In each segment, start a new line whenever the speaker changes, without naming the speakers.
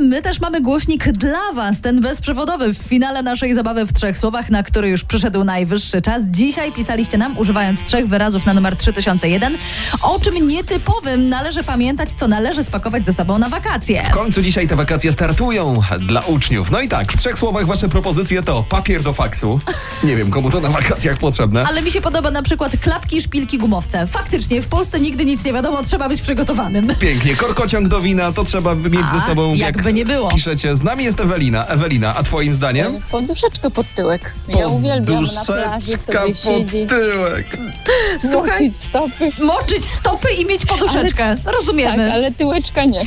my też mamy głośnik dla Was, ten bezprzewodowy w finale naszej zabawy w trzech słowach, na który już przyszedł najwyższy czas. Dzisiaj pisaliście nam, używając trzech wyrazów na numer 3001, o czym nietypowym należy pamiętać, co należy spakować ze sobą na wakacje.
W końcu dzisiaj te wakacje startują dla uczniów. No i tak, w trzech słowach wasze propozycje to papier do faksu. Nie wiem, komu to na wakacjach potrzebne.
Ale mi się podoba na przykład klapki, szpilki, gumowce. Faktycznie, w Polsce nigdy nic nie wiadomo, trzeba być przygotowanym.
Pięknie, korkociąg do wina, to trzeba by mieć
A,
ze sobą.
jakby nie było.
Piszecie, z nami jest Ewelina. Ewelina, a twoim zdaniem?
Poduszeczkę pod tyłek. Ja uwielbiam na plaży
Poduszeczka
sobie
pod
siedzieć,
tyłek.
Słuchaj,
mocić stopy.
moczyć stopy i mieć poduszeczkę.
Tak,
Rozumiemy.
ale tyłeczka nie.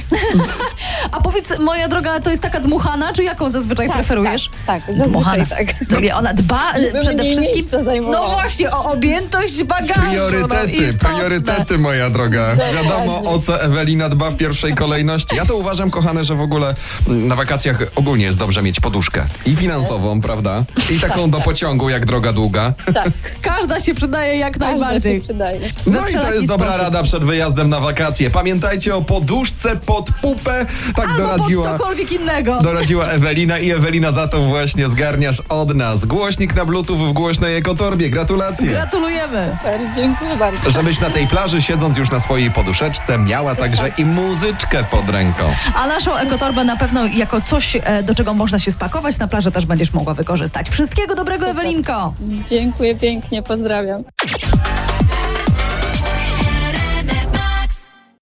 A powiedz, moja droga, to jest taka dmuchana, czy jaką zazwyczaj
Tak,
preferujesz?
Tak, tak zazwyczaj tak.
Czyli ona dba e,
Żeby
przede
mniej
wszystkim.
miejsca
No
zajmowało.
właśnie, o objętość bagażu. no,
Priorytety,
istotne. No, tak.
priorytety, moja droga. Wiadomo, o co Ewelina dba w pierwszej kolejności. Ja to uważam, kochane, że w ogóle mm, na wakacjach ogólnie jest dobrze mieć poduszkę. I finansową, prawda? I taką do pociągu, jak droga długa.
Tak,
Każda się przydaje jak
każda się
najbardziej.
przydaje.
No i to
wszelaki
jest dobra
sposób.
rada przed wyjazdem na wakacje. Pamiętajcie o poduszce pod pupę. Tak
Albo pod
doradziła.
cokolwiek innego.
Doradziła Ewelina i Ewelina za to właśnie zgarniasz od nas. Głośnik na Bluetooth w głośnej ekotorbie. Gratulacje!
Gratulujemy.
Super, Dziękuję bardzo.
Żebyś na tej plaży, siedząc już na swojej poduszeczce, miała także i muzyczkę pod ręką.
A naszą ekotorbę na pewno jako coś, e, do czego można się spakować na plaży, też będziesz mogła wykorzystać. Wszystkiego dobrego, Ewelinko.
Dziękuję pięknie, pozdrawiam.